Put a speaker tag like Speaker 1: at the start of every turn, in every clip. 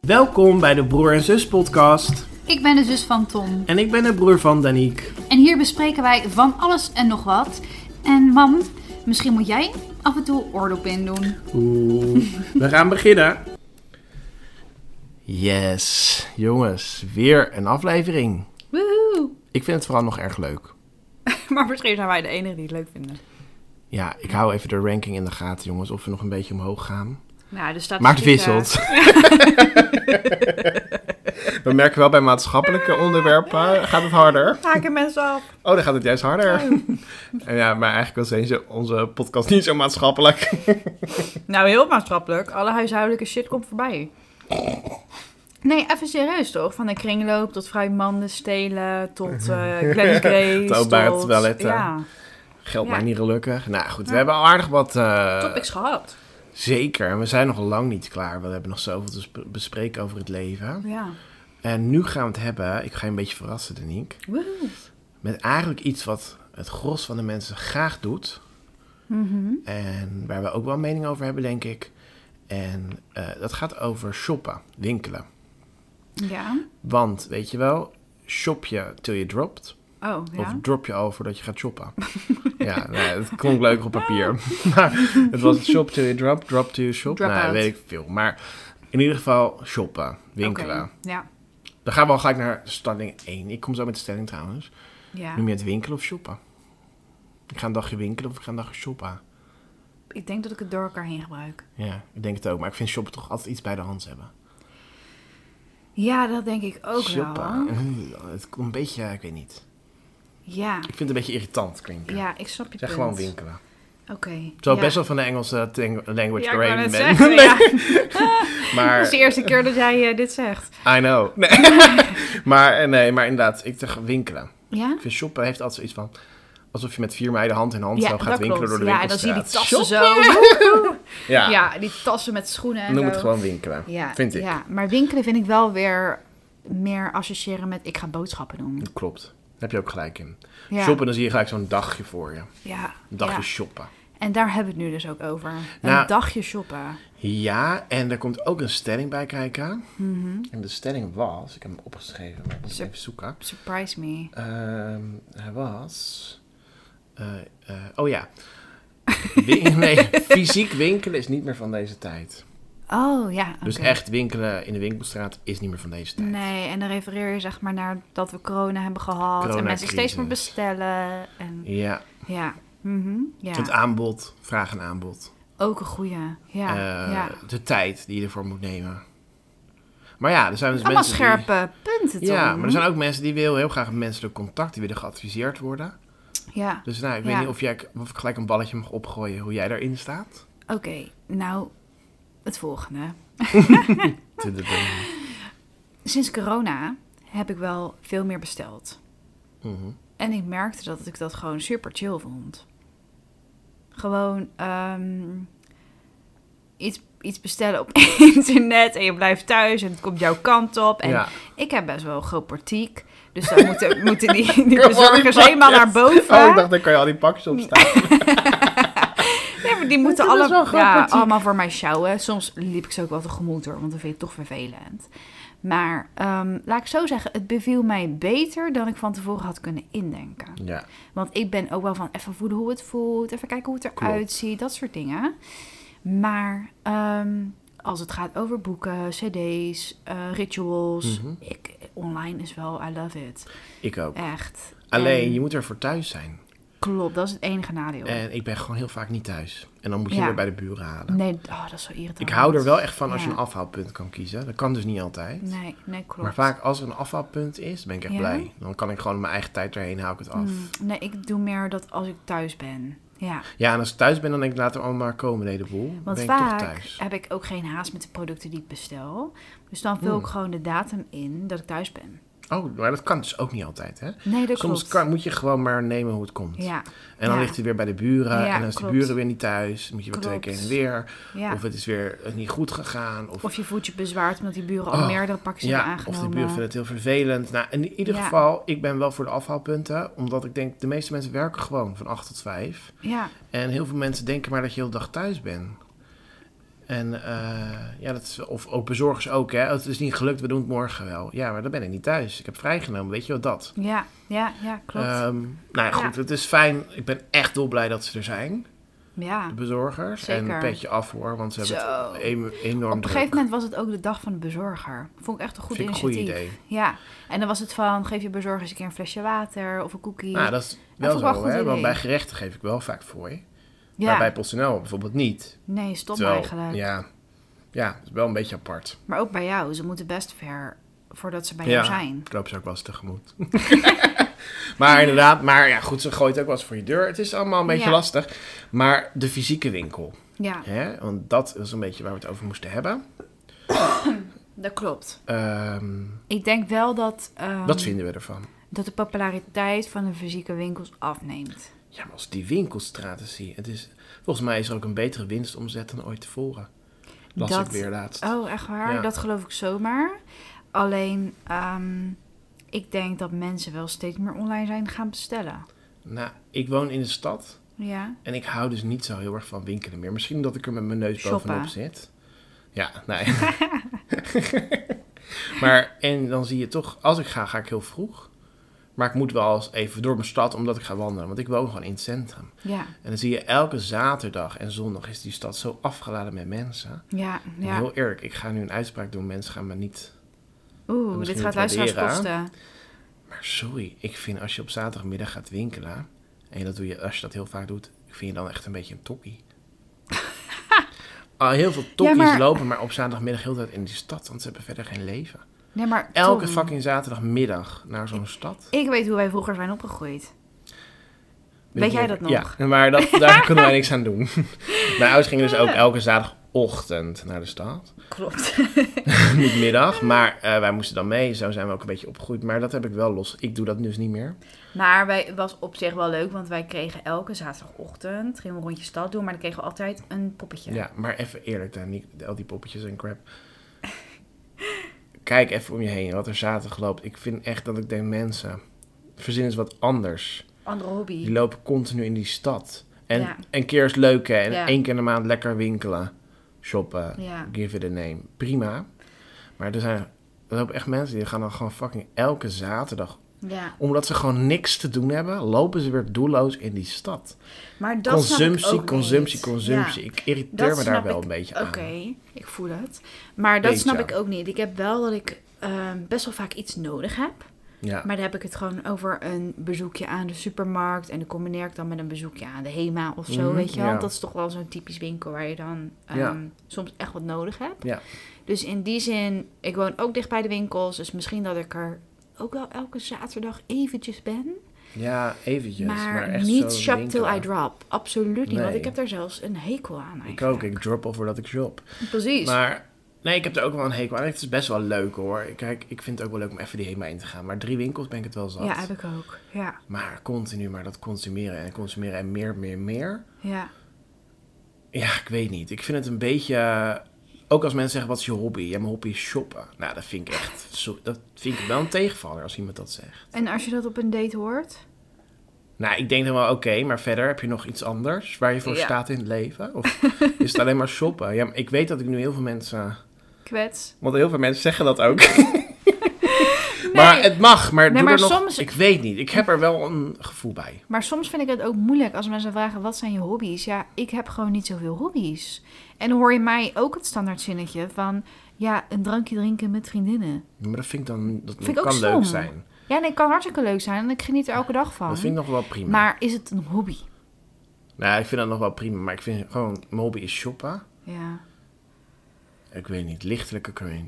Speaker 1: Welkom bij de Broer en Zus podcast.
Speaker 2: Ik ben de zus van Tom
Speaker 1: En ik ben de broer van Daniek.
Speaker 2: en hier bespreken wij van alles en nog wat. En mam, misschien moet jij af en toe oordop in doen.
Speaker 1: Oeh, we gaan beginnen. Yes, jongens, weer een aflevering.
Speaker 3: Woehoe.
Speaker 1: Ik vind het vooral nog erg leuk.
Speaker 3: Maar misschien zijn wij de enige die het leuk vinden.
Speaker 1: Ja, ik hou even de ranking in de gaten, jongens, of we nog een beetje omhoog gaan.
Speaker 3: Nou, de
Speaker 1: Maar het
Speaker 3: statistieken-
Speaker 1: wisselt. we merken wel bij maatschappelijke onderwerpen eh, gaat het harder.
Speaker 3: Haken mensen af.
Speaker 1: Oh, dan gaat het juist harder. En ja, maar eigenlijk was deze, onze podcast niet zo maatschappelijk.
Speaker 3: Nou, heel maatschappelijk. Alle huishoudelijke shit komt voorbij. Nee, even serieus toch? Van de kringloop tot fruitmanden stelen, tot eh Glenn Grace,
Speaker 1: Tot openbaar
Speaker 3: tot-
Speaker 1: toiletten.
Speaker 3: Ja,
Speaker 1: Geld
Speaker 3: Ja.
Speaker 1: maar niet gelukkig. Nou goed, we
Speaker 3: Ja.
Speaker 1: hebben al aardig wat... eh,
Speaker 3: topics gehad.
Speaker 1: Zeker, en we zijn nog lang niet klaar. We hebben nog zoveel te sp- bespreken over het leven.
Speaker 3: Ja.
Speaker 1: En nu gaan we het hebben, ik ga je een beetje verrassen, Daniek.
Speaker 3: Woehoe.
Speaker 1: Met eigenlijk iets wat het gros van de mensen graag doet.
Speaker 3: Mhm.
Speaker 1: En waar we ook wel een mening over hebben, denk ik. En eh, dat gaat over shoppen, winkelen.
Speaker 3: Ja.
Speaker 1: Want, weet je wel, shop je till je dropt.
Speaker 3: Oh,
Speaker 1: Of
Speaker 3: ja.
Speaker 1: drop je al voordat je gaat shoppen. ja, nou, het klonk leuk op papier. maar het was shop to je drop, drop to je shop.
Speaker 3: Drop
Speaker 1: nou,
Speaker 3: out.
Speaker 1: weet ik veel. Maar in ieder geval shoppen, winkelen.
Speaker 3: Oké. Ja.
Speaker 1: Dan gaan we al gelijk naar stelling 1. Ik kom zo met de stelling trouwens.
Speaker 3: Ja.
Speaker 1: Noem je het winkelen of shoppen? Ik ga een dagje winkelen of ik ga een dagje shoppen.
Speaker 3: Ik denk dat ik het door elkaar heen gebruik.
Speaker 1: Ja, ik denk het ook. Maar ik vind shoppen toch altijd iets bij de hand hebben.
Speaker 3: Ja, dat denk ik ook
Speaker 1: shoppen. Eh,
Speaker 3: wel.
Speaker 1: Het komt een beetje, ik weet niet.
Speaker 3: Ja.
Speaker 1: Ik vind het een beetje irritant klinken.
Speaker 3: Ja, ik snap je
Speaker 1: Zeg
Speaker 3: punt.
Speaker 1: gewoon winkelen.
Speaker 3: Oké.
Speaker 1: Zo
Speaker 3: ja.
Speaker 1: best wel van de Engelse tang- language
Speaker 3: Ja, ik wou
Speaker 1: brain
Speaker 3: net
Speaker 1: ben.
Speaker 3: zeggen,
Speaker 1: Nee,
Speaker 3: ja.
Speaker 1: Maar
Speaker 3: Dat is de eerste keer dat jij eh, dit zegt.
Speaker 1: I know. Nee. maar, eh, nee, maar inderdaad, ik zeg winkelen.
Speaker 3: Ja?
Speaker 1: Ik vind shoppen heeft altijd zoiets van... Alsof je met vier meiden hand in hand
Speaker 3: ja,
Speaker 1: zo gaat
Speaker 3: dat
Speaker 1: winkelen
Speaker 3: klopt.
Speaker 1: door de
Speaker 3: Ja, en dan
Speaker 1: winkelstraat.
Speaker 3: zie je die tassen zo.
Speaker 1: zo. Ja,
Speaker 3: ja. die tassen met schoenen en
Speaker 1: noem
Speaker 3: zo.
Speaker 1: het gewoon winkelen.
Speaker 3: Ja,
Speaker 1: vind ik.
Speaker 3: Ja, maar winkelen vind ik wel weer meer associëren met ik ga boodschappen doen.
Speaker 1: Dat Klopt. Daar heb je ook gelijk in.
Speaker 3: Ja,
Speaker 1: Shoppen, dan zie je gelijk zo'n dagje voor je.
Speaker 3: Ja,
Speaker 1: Een dagje
Speaker 3: ja.
Speaker 1: shoppen.
Speaker 3: En daar hebben we het nu dus ook over. Een
Speaker 1: Nou.
Speaker 3: dagje shoppen.
Speaker 1: Ja, en er komt ook een stelling bij kijken. En de stelling was... Ik heb hem opgeschreven, maar ik moet
Speaker 3: Mhm. Zo.
Speaker 1: even zoeken.
Speaker 3: Surprise me.
Speaker 1: Ehm, hij was. eh, eh, oh ja. Win- nee, fysiek winkelen is niet meer van deze tijd.
Speaker 3: Oh ja,
Speaker 1: Dus
Speaker 3: oké.
Speaker 1: echt winkelen in de winkelstraat is niet meer van deze tijd.
Speaker 3: Nee, en dan refereer je zeg maar naar dat we corona hebben gehad. en mensen
Speaker 1: Coronacrisis.
Speaker 3: steeds meer bestellen. En,
Speaker 1: Ja,
Speaker 3: ja. Mhm,
Speaker 1: het
Speaker 3: ja.
Speaker 1: aanbod, vraag en aanbod.
Speaker 3: Ook een goeie. Ja,
Speaker 1: Eh,
Speaker 3: ja.
Speaker 1: De tijd die je ervoor moet nemen. Maar ja, er zijn dus
Speaker 3: Allemaal
Speaker 1: mensen
Speaker 3: scherpe punten,
Speaker 1: die...
Speaker 3: toch?
Speaker 1: Ja, maar er zijn ook mensen die willen heel graag menselijk contact, die willen geadviseerd worden.
Speaker 3: Ja,
Speaker 1: Dus nou, ik weet
Speaker 3: Ja.
Speaker 1: niet of, jij, of ik gelijk een balletje mag opgooien hoe jij daarin staat.
Speaker 3: oké. Nou, het volgende. Sinds corona heb ik wel veel meer besteld.
Speaker 1: Mhm.
Speaker 3: En ik merkte dat ik dat gewoon super chill vond. Gewoon ehm, iets, iets bestellen op internet en je blijft thuis en het komt jouw kant op. En
Speaker 1: Ja.
Speaker 3: ik heb best wel een groot portiek. Dus dan moeten, moeten die, die
Speaker 1: kan wel die
Speaker 3: bezorgers helemaal naar
Speaker 1: pakjes.
Speaker 3: boven.
Speaker 1: Oh, ik dacht, daar kan je al die pakjes op staan.
Speaker 3: Nee, maar die moeten
Speaker 1: is
Speaker 3: alle,
Speaker 1: wel grappig,
Speaker 3: ja,
Speaker 1: natuurlijk.
Speaker 3: allemaal voor mij sjouwen. Soms liep ik ze ook wel tegemoet hoor, want dan vind ik het toch vervelend. Maar ehm, laat ik zo zeggen, het beviel mij beter dan ik van tevoren had kunnen indenken.
Speaker 1: Ja,
Speaker 3: Want ik ben ook wel van even voelen hoe het voelt, even kijken hoe het
Speaker 1: Klopt.
Speaker 3: eruit ziet, dat soort dingen. Maar ehm, als het gaat over boeken, cd's, eh, rituals,
Speaker 1: Mhm.
Speaker 3: ik, online is wel, I love it.
Speaker 1: ik ook.
Speaker 3: Echt.
Speaker 1: Alleen,
Speaker 3: En-
Speaker 1: je moet er voor thuis zijn.
Speaker 3: Klopt, dat is het enige nadeel.
Speaker 1: En ik ben gewoon heel vaak niet thuis. En dan moet je
Speaker 3: Ja.
Speaker 1: weer bij de buren halen.
Speaker 3: Nee, oh, dat is zo irritant.
Speaker 1: Ik hou er wel echt van als je
Speaker 3: Ja.
Speaker 1: een afhaalpunt kan kiezen. Dat kan dus niet altijd.
Speaker 3: Nee, nee, klopt.
Speaker 1: Maar vaak als er een afhaalpunt is, ben ik echt
Speaker 3: Ja?
Speaker 1: blij. Dan kan ik gewoon mijn eigen tijd erheen, hou ik het af.
Speaker 3: Mm, nee, ik doe meer dat als ik thuis ben. Ja,
Speaker 1: Ja, en als ik thuis ben, dan denk ik later allemaal maar komen, de hele boel. Dan
Speaker 3: want
Speaker 1: ben ik toch
Speaker 3: vaak
Speaker 1: thuis.
Speaker 3: heb ik ook geen haast met de producten die ik bestel. Dus dan vul
Speaker 1: Mm.
Speaker 3: ik gewoon de datum in dat ik thuis ben.
Speaker 1: Oh, maar dat kan dus ook niet altijd, hè?
Speaker 3: Nee, dat
Speaker 1: Soms
Speaker 3: klopt.
Speaker 1: kan, moet je gewoon maar nemen hoe het komt.
Speaker 3: Ja,
Speaker 1: en dan
Speaker 3: ja.
Speaker 1: ligt hij weer bij de buren.
Speaker 3: Ja,
Speaker 1: en dan is
Speaker 3: klopt.
Speaker 1: de buren weer niet thuis. Dan moet je weer twee
Speaker 3: Klopt.
Speaker 1: keer en weer.
Speaker 3: ja.
Speaker 1: Of
Speaker 3: Of,
Speaker 1: het is weer eh, niet goed gegaan. Of,
Speaker 3: je voelt je bezwaard omdat die buren al
Speaker 1: Oh,
Speaker 3: meerdere pakjes hebben
Speaker 1: ja, of
Speaker 3: aangenomen.
Speaker 1: de buren vinden het heel vervelend. Nou, in ieder
Speaker 3: Ja.
Speaker 1: geval, ik ben wel voor de afhaalpunten. Omdat ik denk, de meeste mensen werken gewoon van 8 tot 5.
Speaker 3: Ja,
Speaker 1: En heel veel mensen denken maar dat je heel de dag thuis bent. En eh, ja, dat is, of ook bezorgers ook, hè. Het is niet gelukt, we doen het morgen wel. Ja, maar dan ben ik niet thuis. Ik heb vrijgenomen, weet je wat dat?
Speaker 3: Ja, ja, ja, klopt.
Speaker 1: Ehm, nou ja, goed,
Speaker 3: Ja.
Speaker 1: het is fijn. Ik ben echt dolblij dat ze er zijn,
Speaker 3: ja.
Speaker 1: de bezorgers. En
Speaker 3: Zeker.
Speaker 1: een petje af hoor, want ze hebben
Speaker 3: Zo.
Speaker 1: het em- enorm
Speaker 3: Op een gegeven moment was het ook de dag van de bezorger. Vond ik echt een goed
Speaker 1: Vind ik een goed
Speaker 3: initiatief.
Speaker 1: idee.
Speaker 3: Ja, en dan was het van, geef je bezorger eens een keer een flesje water of een cookie.
Speaker 1: Nou, dat is
Speaker 3: vond
Speaker 1: wel
Speaker 3: ik wel
Speaker 1: zo,
Speaker 3: een goed
Speaker 1: hè. Want
Speaker 3: idee.
Speaker 1: bij gerechten geef ik wel vaak fooi.
Speaker 3: ja,
Speaker 1: Maar bij PostNL bijvoorbeeld niet.
Speaker 3: nee, stom
Speaker 1: Terwijl,
Speaker 3: eigenlijk.
Speaker 1: Ja, ja, dat is wel een beetje apart.
Speaker 3: Maar ook bij jou, ze moeten best ver voordat ze bij
Speaker 1: ja,
Speaker 3: jou zijn.
Speaker 1: ik loop ze ook wel eens tegemoet. maar inderdaad, maar ja, goed, ze gooit ook wel eens voor je deur. Het is allemaal een beetje
Speaker 3: Ja.
Speaker 1: lastig. Maar de fysieke winkel,
Speaker 3: Ja,
Speaker 1: hè? want dat is een beetje waar we het over moesten hebben.
Speaker 3: dat klopt.
Speaker 1: Ehm,
Speaker 3: Ik denk wel dat, ehm,
Speaker 1: wat vinden we ervan?
Speaker 3: dat de populariteit van de fysieke winkels afneemt.
Speaker 1: Ja, maar als die winkelstrategie. Het is, volgens mij is er ook een betere winstomzet dan ooit tevoren. Las
Speaker 3: Dat-
Speaker 1: ik weer laatst.
Speaker 3: Oh, echt waar?
Speaker 1: Ja.
Speaker 3: Dat geloof ik zomaar. Alleen, ehm, ik denk dat mensen wel steeds meer online zijn gaan bestellen.
Speaker 1: Nou, ik woon in de stad
Speaker 3: Ja.
Speaker 1: en ik hou dus niet zo heel erg van winkelen meer. Misschien dat ik er met mijn neus
Speaker 3: Shoppen.
Speaker 1: bovenop zit. Ja, nee. maar, en dan zie je toch, als ik ga, ga ik heel vroeg. Maar ik moet wel eens even door mijn stad, omdat ik ga wandelen. Want ik woon gewoon in het centrum.
Speaker 3: Ja,
Speaker 1: En dan zie je elke zaterdag en zondag is die stad zo afgeladen met mensen.
Speaker 3: ja,
Speaker 1: En
Speaker 3: ja.
Speaker 1: Heel eerlijk, ik ga nu een uitspraak doen. Mensen gaan me niet
Speaker 3: Oeh,
Speaker 1: misschien het
Speaker 3: dit gaat
Speaker 1: waarderen,
Speaker 3: luisteraars kosten.
Speaker 1: Maar sorry, ik vind als je op zaterdagmiddag gaat winkelen, en dat doe je, als je dat heel vaak doet, ik vind je dan echt een beetje een tokkie. Al heel veel tokkies
Speaker 3: Ja, maar-
Speaker 1: lopen maar op zaterdagmiddag heel de tijd in die stad, want ze hebben verder geen leven.
Speaker 3: Nee, maar
Speaker 1: Elke
Speaker 3: Tom,
Speaker 1: fucking zaterdagmiddag naar zo'n stad.
Speaker 3: Ik weet hoe wij vroeger zijn opgegroeid. Weet jij dat nog?
Speaker 1: Ja, maar dat, daar kunnen wij niks aan doen. Mijn ouders gingen dus ook elke zaterdagochtend naar de stad.
Speaker 3: Klopt.
Speaker 1: Niet middag, maar eh, wij moesten dan mee. Zo zijn we ook een beetje opgegroeid. Maar dat heb ik wel los. Ik doe dat nu dus niet meer.
Speaker 3: Maar wij, het was op zich wel leuk, want wij kregen elke zaterdagochtend, gingen we een rondje stad doen, maar dan kregen we altijd een poppetje.
Speaker 1: Ja, maar even eerlijk, Daniek, al die poppetjes en crap. Kijk even om je heen, wat er zaterdag loopt. Ik vind echt dat ik denk, mensen, verzin eens wat anders.
Speaker 3: Andere
Speaker 1: Die
Speaker 3: hobby.
Speaker 1: lopen continu in die stad. En
Speaker 3: Ja.
Speaker 1: een keer is leuk, hè. En
Speaker 3: Ja.
Speaker 1: één keer in de maand lekker winkelen, shoppen,
Speaker 3: Ja.
Speaker 1: give it a name. Prima. Maar er zijn... Er lopen echt mensen die gaan dan gewoon fucking elke zaterdag...
Speaker 3: Ja.
Speaker 1: Omdat ze gewoon niks te doen hebben, lopen ze weer doelloos in die stad.
Speaker 3: Maar dat snap ik
Speaker 1: consumptie,
Speaker 3: ook
Speaker 1: consumptie,
Speaker 3: niet.
Speaker 1: consumptie.
Speaker 3: Ja.
Speaker 1: Ik irriteer me daar
Speaker 3: snap
Speaker 1: wel
Speaker 3: ik-
Speaker 1: een beetje
Speaker 3: Oké,
Speaker 1: aan.
Speaker 3: ik voel het. Maar dat
Speaker 1: Beetje.
Speaker 3: snap ik ook niet. Ik heb wel dat ik ehm, best wel vaak iets nodig heb.
Speaker 1: Ja.
Speaker 3: Maar daar heb ik het gewoon over een bezoekje aan de supermarkt. En dan combineer ik dan met een bezoekje aan de HEMA of zo,
Speaker 1: Mhm,
Speaker 3: weet je wel.
Speaker 1: ja.
Speaker 3: Dat is toch wel zo'n typisch winkel waar je dan ehm,
Speaker 1: Ja.
Speaker 3: soms echt wat nodig hebt.
Speaker 1: Ja.
Speaker 3: Dus in die zin, ik woon ook dicht bij de winkels. Dus misschien dat ik er ook wel elke zaterdag eventjes ben.
Speaker 1: Ja, eventjes.
Speaker 3: maar,
Speaker 1: Maar, echt
Speaker 3: niet
Speaker 1: zo
Speaker 3: shop till
Speaker 1: winkelen.
Speaker 3: I drop. Absoluut niet, want
Speaker 1: Nee.
Speaker 3: ik heb daar zelfs een hekel aan
Speaker 1: Ik
Speaker 3: eigenlijk.
Speaker 1: ook, ik drop al voordat ik shop.
Speaker 3: Precies.
Speaker 1: Maar nee, ik heb er ook wel een hekel aan. Het is best wel leuk hoor. Kijk, ik vind het ook wel leuk om even die HEMA in te gaan. Maar drie winkels ben ik het wel zat.
Speaker 3: Ja, heb ik ook. Ja,
Speaker 1: Maar continu maar dat consumeren en consumeren en meer, meer, meer.
Speaker 3: ja.
Speaker 1: Ja, ik weet niet. Ik vind het een beetje... Ook als mensen zeggen, wat is je hobby? Ja, mijn hobby is shoppen. Nou, dat vind ik echt... zo- Dat vind ik wel een tegenvaller als iemand dat zegt.
Speaker 3: En als je dat op een date hoort?
Speaker 1: Nou, ik denk dan wel oké, maar verder heb je nog iets anders waar je voor
Speaker 3: Ja.
Speaker 1: staat in het leven? Of is het alleen maar shoppen? Ja, maar ik weet dat ik nu heel veel mensen.
Speaker 3: Kwets.
Speaker 1: Want heel veel mensen zeggen dat ook. Maar het mag, maar,
Speaker 3: Nee,
Speaker 1: doe
Speaker 3: maar
Speaker 1: er nog,
Speaker 3: soms-
Speaker 1: ik weet niet. Ik heb er wel een gevoel bij.
Speaker 3: Maar soms vind ik het ook moeilijk als mensen vragen, wat zijn je hobby's? Ja, ik heb gewoon niet zoveel hobby's. En dan hoor je mij ook het standaard zinnetje van, ja, een drankje drinken met vriendinnen.
Speaker 1: Maar dat vind ik dan, dat
Speaker 3: Vind ik ook
Speaker 1: kan
Speaker 3: stom.
Speaker 1: leuk zijn.
Speaker 3: Ja, nee, kan hartstikke leuk zijn en ik geniet er elke dag van.
Speaker 1: Dat vind ik nog wel prima.
Speaker 3: Maar is het een hobby?
Speaker 1: Nou, ik vind dat nog wel prima, maar ik vind gewoon, mijn hobby is shoppen.
Speaker 3: Ja.
Speaker 1: Ik weet niet, lichtelijke cringe.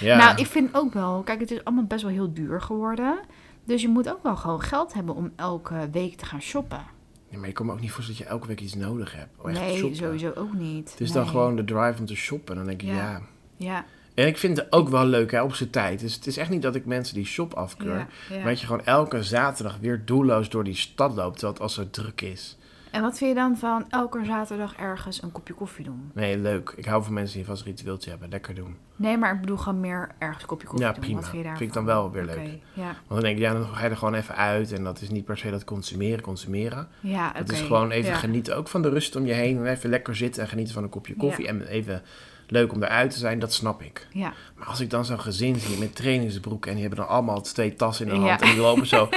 Speaker 1: Ja,
Speaker 3: Nou, ik vind ook wel, kijk, het is allemaal best wel heel duur geworden. Dus je moet ook wel gewoon geld hebben om elke week te gaan shoppen.
Speaker 1: Ja, maar je kan me ook niet voorstellen dat je elke week iets nodig hebt. om Oh, echt te
Speaker 3: nee,
Speaker 1: shoppen.
Speaker 3: sowieso ook niet.
Speaker 1: Het is
Speaker 3: Nee.
Speaker 1: dan gewoon de drive om te shoppen. Dan denk ik,
Speaker 3: Ja.
Speaker 1: ja,
Speaker 3: Ja,
Speaker 1: En ik vind het ook wel leuk hè, op zijn tijd. Dus het is echt niet dat ik mensen die shop afkeur.
Speaker 3: ja, ja.
Speaker 1: Maar dat je gewoon elke zaterdag weer doelloos door die stad loopt. Terwijl het al zo druk is.
Speaker 3: En wat vind je dan van elke zaterdag ergens een kopje koffie doen?
Speaker 1: Nee, leuk. Ik hou van mensen die vast een ritueeltje hebben. Lekker doen.
Speaker 3: Nee, maar ik bedoel gewoon meer ergens een kopje koffie
Speaker 1: Ja,
Speaker 3: doen.
Speaker 1: prima.
Speaker 3: Wat vind je daarvan?
Speaker 1: Vind ik dan wel weer leuk.
Speaker 3: Oké, ja,
Speaker 1: Want dan denk ik, ja, dan ga je er gewoon even uit. En dat is niet per se dat consumeren, consumeren.
Speaker 3: ja
Speaker 1: Het is
Speaker 3: oké,
Speaker 1: gewoon even
Speaker 3: ja.
Speaker 1: genieten ook van de rust om je heen. En even lekker zitten en genieten van een kopje
Speaker 3: Ja.
Speaker 1: koffie. En even leuk om eruit te zijn, dat snap ik.
Speaker 3: Ja,
Speaker 1: Maar als ik dan zo'n gezin zie met trainingsbroeken... en die hebben dan allemaal twee tassen in hun
Speaker 3: Ja.
Speaker 1: hand... en die lopen zo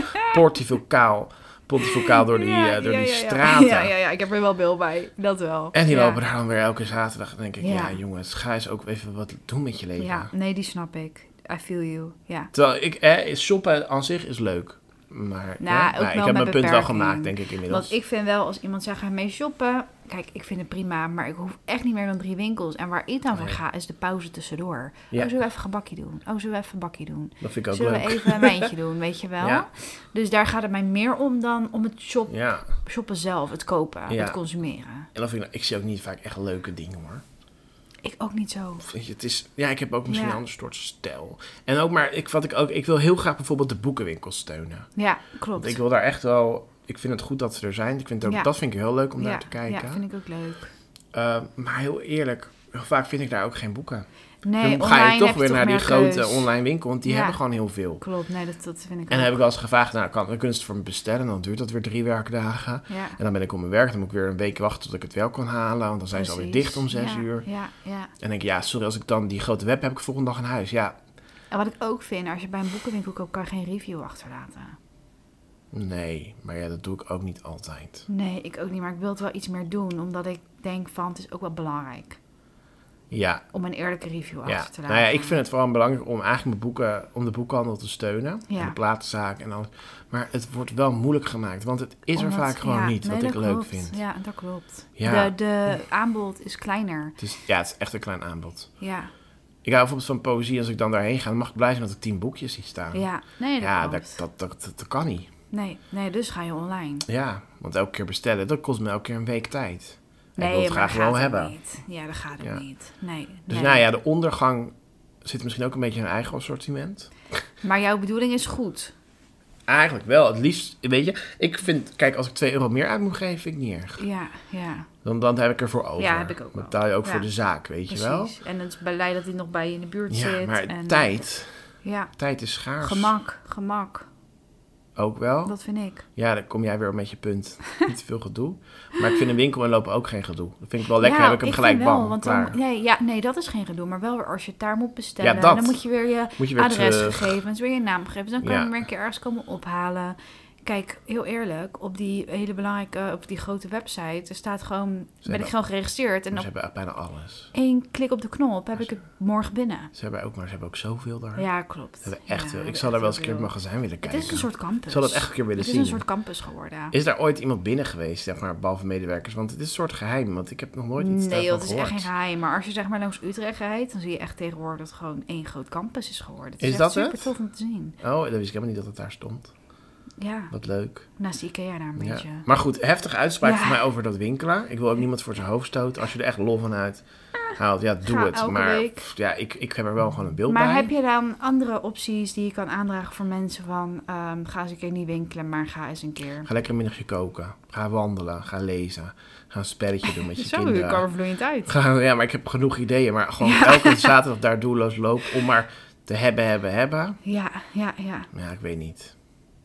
Speaker 1: portivocaal, portivocaal door die,
Speaker 3: Ja,
Speaker 1: eh, door
Speaker 3: ja,
Speaker 1: die
Speaker 3: ja, ja.
Speaker 1: straten.
Speaker 3: Ja, ja, ja, ik heb er wel beeld bij. Dat wel.
Speaker 1: En die
Speaker 3: Ja.
Speaker 1: lopen daar dan weer elke zaterdag. Dan denk ik, ja.
Speaker 3: Ja.
Speaker 1: jongens, ga eens ook even wat doen met je leven.
Speaker 3: Ja, nee, die snap ik. I feel you. Ja.
Speaker 1: Terwijl ik, eh, shoppen aan zich is leuk. Maar
Speaker 3: Nou,
Speaker 1: ja,
Speaker 3: ook
Speaker 1: nou, ik
Speaker 3: wel
Speaker 1: heb
Speaker 3: met
Speaker 1: mijn punt wel
Speaker 3: beperking.
Speaker 1: gemaakt, denk ik inmiddels.
Speaker 3: Want ik vind wel, als iemand zegt, ga mee shoppen. Kijk, ik vind het prima, maar ik hoef echt niet meer dan drie winkels. En waar ik dan voor
Speaker 1: Nee.
Speaker 3: ga, is de pauze tussendoor.
Speaker 1: Ja.
Speaker 3: Oh, zullen we even gebakje doen? Oh, zullen we even bakje doen?
Speaker 1: Dat vind ik ook
Speaker 3: zullen
Speaker 1: leuk.
Speaker 3: we even een wijntje doen, weet je wel?
Speaker 1: Ja.
Speaker 3: Dus daar gaat het mij meer om dan om het shop,
Speaker 1: Ja,
Speaker 3: shoppen zelf, het kopen,
Speaker 1: Ja.
Speaker 3: het consumeren.
Speaker 1: en dan vind ik, ik zie ook niet vaak echt leuke dingen hoor.
Speaker 3: Ik ook niet zo.
Speaker 1: Weet je, het is, ja, ik heb ook misschien
Speaker 3: Ja.
Speaker 1: een ander soort stijl. En ook maar, ik, wat ik, ook, ik wil heel graag bijvoorbeeld de boekenwinkel steunen.
Speaker 3: Ja,
Speaker 1: Want
Speaker 3: klopt.
Speaker 1: ik wil daar echt wel, ik vind het goed dat ze er zijn. Ik vind het ook,
Speaker 3: Ja.
Speaker 1: Dat vind ik heel leuk om
Speaker 3: ja,
Speaker 1: naar te kijken.
Speaker 3: Ja, vind ik ook leuk.
Speaker 1: Eh, maar heel eerlijk, heel vaak vind ik daar ook geen boeken.
Speaker 3: Nee,
Speaker 1: Dan ga je
Speaker 3: online
Speaker 1: toch
Speaker 3: heb
Speaker 1: weer naar die
Speaker 3: meer
Speaker 1: grote
Speaker 3: keus.
Speaker 1: online winkel, want die
Speaker 3: Ja.
Speaker 1: hebben gewoon heel veel.
Speaker 3: Klopt, nee, dat, dat vind ik
Speaker 1: En
Speaker 3: ook.
Speaker 1: dan heb ik wel eens gevraagd, nou, kan, dan kunnen ze het voor me bestellen. En dan duurt dat weer drie werkdagen.
Speaker 3: Ja.
Speaker 1: En dan ben ik op mijn werk, dan moet ik weer een week wachten tot ik het wel kan halen. Want dan zijn ze alweer
Speaker 3: Precies.
Speaker 1: dicht om zes
Speaker 3: Ja,
Speaker 1: uur.
Speaker 3: Ja, ja.
Speaker 1: En dan denk ik, ja, sorry, als ik dan die grote web heb, ik volgende dag in huis. Ja,
Speaker 3: En wat ik ook vind, als je bij een boekenwinkel koopt, kan je geen review achterlaten.
Speaker 1: nee. Maar ja, dat doe ik ook niet altijd.
Speaker 3: Nee, ik ook niet, maar ik wil het wel iets meer doen, omdat ik denk van, het is ook wel belangrijk
Speaker 1: Ja,
Speaker 3: om een eerlijke review
Speaker 1: ja.
Speaker 3: achter te
Speaker 1: Nou
Speaker 3: laten.
Speaker 1: ja, ik vind het vooral belangrijk om eigenlijk mijn boeken, om de boekhandel te steunen.
Speaker 3: Ja.
Speaker 1: En de platenzaak en alles. Maar het wordt wel moeilijk gemaakt, want het is er
Speaker 3: Omdat-
Speaker 1: vaak gewoon
Speaker 3: ja,
Speaker 1: niet,
Speaker 3: nee,
Speaker 1: wat
Speaker 3: dat
Speaker 1: ik leuk
Speaker 3: klopt.
Speaker 1: vind.
Speaker 3: Ja, dat klopt.
Speaker 1: Ja.
Speaker 3: De, de aanbod is kleiner.
Speaker 1: Het is, ja, het is echt een klein aanbod.
Speaker 3: Ja,
Speaker 1: Ik hou bijvoorbeeld van poëzie, als ik dan daarheen ga, dan mag ik blij zijn dat ik tien boekjes zie staan.
Speaker 3: ja. nee, dat
Speaker 1: Ja, dat,
Speaker 3: klopt.
Speaker 1: dat, dat, dat, dat kan niet.
Speaker 3: Nee, nee, dus ga je online.
Speaker 1: Ja, want elke keer bestellen, dat kost me elke keer een week tijd. En
Speaker 3: Nee,
Speaker 1: ik wil het
Speaker 3: maar
Speaker 1: graag
Speaker 3: gaat
Speaker 1: wel
Speaker 3: het
Speaker 1: hebben.
Speaker 3: Niet. Ja, dat gaat het
Speaker 1: Ja.
Speaker 3: niet. Nee,
Speaker 1: Dus
Speaker 3: nee.
Speaker 1: nou ja, de ondergang zit misschien ook een beetje in een eigen assortiment.
Speaker 3: Maar jouw bedoeling is goed.
Speaker 1: Eigenlijk wel, het liefst, weet je. Ik vind, kijk, als ik 2 euro meer uit moet geven, vind ik niet erg.
Speaker 3: Ja, ja.
Speaker 1: Dan, dan heb ik ervoor over.
Speaker 3: Ja, heb ik ook
Speaker 1: Dan
Speaker 3: wel.
Speaker 1: betaal je ook
Speaker 3: Ja.
Speaker 1: voor de zaak, weet je wel.
Speaker 3: Precies. En het is blij dat hij nog bij je in de buurt
Speaker 1: Ja,
Speaker 3: zit.
Speaker 1: maar
Speaker 3: en,
Speaker 1: tijd,
Speaker 3: Ja,
Speaker 1: tijd is schaars.
Speaker 3: gemak, gemak.
Speaker 1: Ook wel.
Speaker 3: Dat vind ik.
Speaker 1: Ja, dan kom jij weer met je punt. Niet te veel gedoe. Maar ik vind een winkel en lopen ook geen gedoe. Dat vind ik wel lekker,
Speaker 3: ja,
Speaker 1: heb ik hem gelijk
Speaker 3: vind wel,
Speaker 1: bang,
Speaker 3: want
Speaker 1: klaar.
Speaker 3: dan, nee, ja, nee, dat is geen gedoe. Maar wel weer als je het daar moet bestellen,
Speaker 1: Ja, dat.
Speaker 3: dan moet je weer je
Speaker 1: Moet je weer terug.
Speaker 3: adresgegevens, weer je naamgegevens. Dan kan
Speaker 1: Ja.
Speaker 3: je hem een keer ergens komen ophalen. Kijk, heel eerlijk, op die hele belangrijke, op die grote website, er staat gewoon, ben ik
Speaker 1: hebben-
Speaker 3: gewoon geregistreerd. En
Speaker 1: Ze
Speaker 3: op
Speaker 1: hebben bijna alles.
Speaker 3: één klik op de knop heb ik het morgen binnen.
Speaker 1: Ze hebben ook, maar ze hebben ook zoveel daar.
Speaker 3: Ja, klopt.
Speaker 1: Ze hebben echt veel.
Speaker 3: Ja,
Speaker 1: Ik
Speaker 3: hebben
Speaker 1: zal daar
Speaker 3: echt
Speaker 1: wel eens een keer op
Speaker 3: heel
Speaker 1: het magazijn willen
Speaker 3: veel.
Speaker 1: kijken.
Speaker 3: Het is een soort campus.
Speaker 1: Ik zal dat echt een keer willen
Speaker 3: Het is
Speaker 1: zien.
Speaker 3: een soort campus geworden.
Speaker 1: Is daar ooit iemand binnen geweest, zeg maar, behalve medewerkers? Want het is een soort geheim, want ik heb nog nooit iets
Speaker 3: Nee,
Speaker 1: daarvan
Speaker 3: joh, dat is
Speaker 1: gehoord.
Speaker 3: echt geen geheim. Maar als je zeg maar langs Utrecht rijdt, dan zie je echt tegenwoordig dat het gewoon één groot campus is geworden. Het is,
Speaker 1: Is
Speaker 3: echt
Speaker 1: dat
Speaker 3: super
Speaker 1: het?
Speaker 3: tof om te zien.
Speaker 1: Oh, dat wist ik helemaal niet dat het daar stond.
Speaker 3: Ja, nou,
Speaker 1: Wat leuk.
Speaker 3: naast de Ikea daar een
Speaker 1: Ja.
Speaker 3: beetje.
Speaker 1: Maar goed, heftige uitspraak
Speaker 3: Ja.
Speaker 1: van mij over dat winkelen. Ik wil ook niemand voor zijn hoofd stoten. Als je er echt lol van uit haalt, ja, doe
Speaker 3: Ga
Speaker 1: het.
Speaker 3: elke
Speaker 1: Maar
Speaker 3: week.
Speaker 1: pff, ja, ik, ik heb er wel gewoon een beeld bij.
Speaker 3: Maar heb je dan andere opties die je kan aandragen voor mensen van... ehm, ga eens een keer niet winkelen, maar ga eens een keer...
Speaker 1: Ga lekker een middagje koken. Ga wandelen. Ga lezen. Ga een spelletje doen met je
Speaker 3: Zo, je
Speaker 1: kinderen.
Speaker 3: kwam er vloeiend uit.
Speaker 1: Ga- ja, maar ik heb genoeg ideeën. Maar gewoon elke zaterdag daar doelloos lopen om maar te hebben, hebben, hebben.
Speaker 3: Ja, ja, ja,
Speaker 1: Ja, ik weet niet.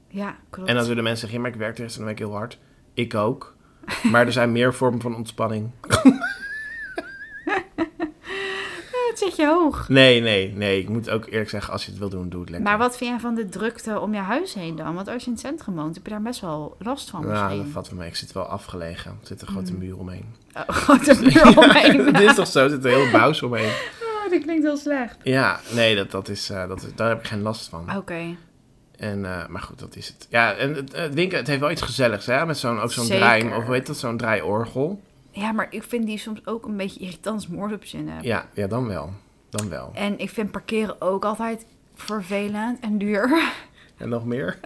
Speaker 3: ja, klopt.
Speaker 1: En dan zullen mensen zeggen, ja, maar ik werk de rest van de week heel hard. Ik ook. Maar er zijn meer vormen van ontspanning.
Speaker 3: Eh, Het zit je hoog.
Speaker 1: Nee, nee, nee. Ik moet ook eerlijk zeggen, als je het wil doen, doe het lekker.
Speaker 3: Maar wat vind jij van de drukte om je huis heen dan? Want als je in het centrum woont, heb je daar best wel last van
Speaker 1: Nou, dat
Speaker 3: misschien.
Speaker 1: valt wel mee. Ik zit wel afgelegen. Er zit een grote muur omheen.
Speaker 3: Oh, God, er muur omheen.
Speaker 1: Het is toch zo? Er zit een hele bouws omheen.
Speaker 3: Oh, dat klinkt heel slecht.
Speaker 1: Ja, nee, dat, dat is, eh, dat, is- daar heb ik geen last van.
Speaker 3: Oké.
Speaker 1: En, eh, maar goed, dat is het. Ja, en het, het winkel, het heeft wel iets gezelligs, hè? Met zo'n, ook zo'n
Speaker 3: Zeker.
Speaker 1: draai, of hoe heet dat, zo'n draaiorgel.
Speaker 3: Ja, maar ik vind die soms ook een beetje irritant als moord op zin heb.
Speaker 1: Ja, ja, dan wel. Dan wel.
Speaker 3: En ik vind parkeren ook altijd vervelend en duur.
Speaker 1: En nog meer?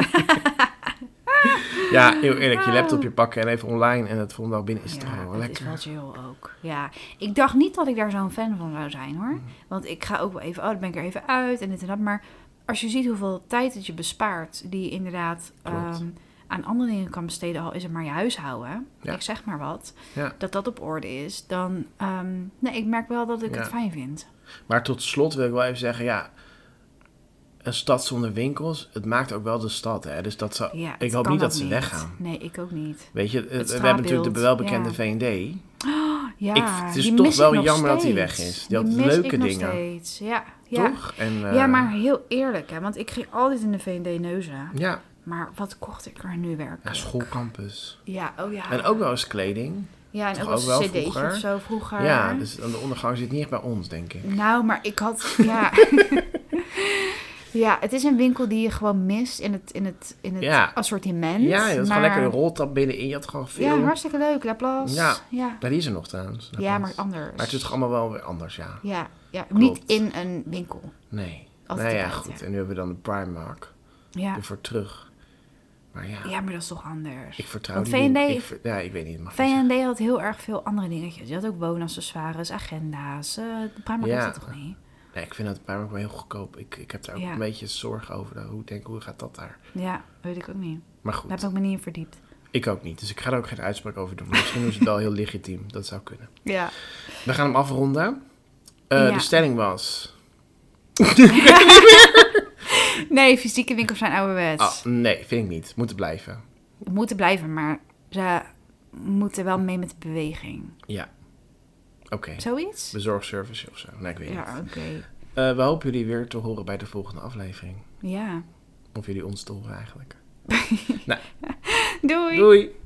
Speaker 1: ja, heel eerlijk, je laptopje pakken en even online en het volgende dag binnen is
Speaker 3: ja,
Speaker 1: toch wel
Speaker 3: dat
Speaker 1: lekker.
Speaker 3: is wel chill ook. Ja, ik dacht niet dat ik daar zo'n fan van zou zijn hoor.
Speaker 1: Mm-hmm.
Speaker 3: Want ik ga ook wel even, oh, dan ben ik er even uit en dit en dat. Maar als je ziet hoeveel tijd dat je bespaart, die inderdaad
Speaker 1: Klopt.
Speaker 3: ehm, aan andere dingen kan besteden, al is het maar je huishouden,
Speaker 1: Ja.
Speaker 3: ik zeg maar wat,
Speaker 1: Ja.
Speaker 3: dat dat op orde is, dan ehm, nee, ik merk wel dat ik
Speaker 1: Ja.
Speaker 3: het fijn vind.
Speaker 1: Maar tot slot wil ik wel even zeggen, ja, een stad zonder winkels, het maakt ook wel de stad, hè. Dus dat zou,
Speaker 3: Ja,
Speaker 1: ik
Speaker 3: het
Speaker 1: hoop
Speaker 3: kan
Speaker 1: niet
Speaker 3: ook
Speaker 1: dat ze weggaan.
Speaker 3: Nee, ik ook niet.
Speaker 1: Weet je, het- we hebben
Speaker 3: straatbeeld,
Speaker 1: natuurlijk de welbekende
Speaker 3: ja.
Speaker 1: V&D.
Speaker 3: Ja,
Speaker 1: Ik- het is
Speaker 3: die
Speaker 1: toch
Speaker 3: mis ik
Speaker 1: wel
Speaker 3: nog
Speaker 1: jammer dat die
Speaker 3: steeds.
Speaker 1: weg is. Die had
Speaker 3: mis ik
Speaker 1: leuke
Speaker 3: nog
Speaker 1: dingen.
Speaker 3: steeds. Ja, ja.
Speaker 1: Toch? En,
Speaker 3: ja,
Speaker 1: eh,
Speaker 3: maar heel eerlijk, hè, want ik ging altijd in de V&D neuzen.
Speaker 1: Ja,
Speaker 3: Maar wat kocht ik er nu werkelijk?
Speaker 1: ja, schoolcampus.
Speaker 3: Ja, oh ja.
Speaker 1: En ook wel eens kleding.
Speaker 3: ja, en
Speaker 1: toch
Speaker 3: ook
Speaker 1: ook
Speaker 3: als
Speaker 1: wel
Speaker 3: cd'tje
Speaker 1: vroeger.
Speaker 3: of zo vroeger.
Speaker 1: Ja, dus aan de ondergang zit niet echt bij ons, denk ik.
Speaker 3: Nou, maar ik had... Ja. ja, het is een winkel die je gewoon mist in het, in het, in het
Speaker 1: Ja.
Speaker 3: assortiment.
Speaker 1: Ja, je had
Speaker 3: maar...
Speaker 1: gewoon lekker een roltap binnenin. Je had gewoon veel...
Speaker 3: Ja, hartstikke leuk. Laplace.
Speaker 1: Ja.
Speaker 3: Ja, ja.
Speaker 1: Ja, die is er nog trouwens.
Speaker 3: maar anders.
Speaker 1: Maar het is toch allemaal wel weer anders, ja.
Speaker 3: Ja, ja.
Speaker 1: Klopt.
Speaker 3: niet in een winkel.
Speaker 1: Nee.
Speaker 3: Altijd
Speaker 1: nou ja,
Speaker 3: eruit,
Speaker 1: goed.
Speaker 3: hè.
Speaker 1: En nu hebben we dan de Primark.
Speaker 3: Ja.
Speaker 1: Ervoor terug. Maar ja,
Speaker 3: ja, maar dat is toch anders.
Speaker 1: ik vertrouw
Speaker 3: Want
Speaker 1: die niet.
Speaker 3: V&D
Speaker 1: Ik ver- Ja, ik weet niet. het Mag niet
Speaker 3: V&D had heel erg veel andere dingetjes. Je had ook woonaccessoires, agenda's. eh de Primark
Speaker 1: Ja.
Speaker 3: had dat toch niet?
Speaker 1: zeggen. Nee, ik vind dat de Primark wel heel goedkoop. Ik, ik heb daar ook
Speaker 3: Ja.
Speaker 1: een beetje zorgen over. eh, Hoe, ik denk, hoe gaat dat daar?
Speaker 3: Ja, weet ik ook niet.
Speaker 1: Maar
Speaker 3: Daar
Speaker 1: goed,
Speaker 3: heb ik me niet in verdiept.
Speaker 1: ik ook niet. Dus ik ga er ook geen uitspraak over doen. Maar Misschien is het wel heel legitiem. Dat zou kunnen.
Speaker 3: Ja.
Speaker 1: We gaan hem afronden. Eh,
Speaker 3: Ja.
Speaker 1: De stelling was...
Speaker 3: Nee, fysieke winkels zijn ouderwets.
Speaker 1: Ah, nee, vind ik niet. Moeten blijven.
Speaker 3: Moeten blijven, maar ze moeten wel mee met de beweging.
Speaker 1: Ja. Oké.
Speaker 3: Zoiets?
Speaker 1: Bezorgservice of zo. Nee, ik weet niet.
Speaker 3: Ja, oké.
Speaker 1: Eh, we hopen jullie weer te horen bij de volgende aflevering.
Speaker 3: Ja.
Speaker 1: Of jullie ons te horen eigenlijk.
Speaker 3: Doei!
Speaker 1: Doei!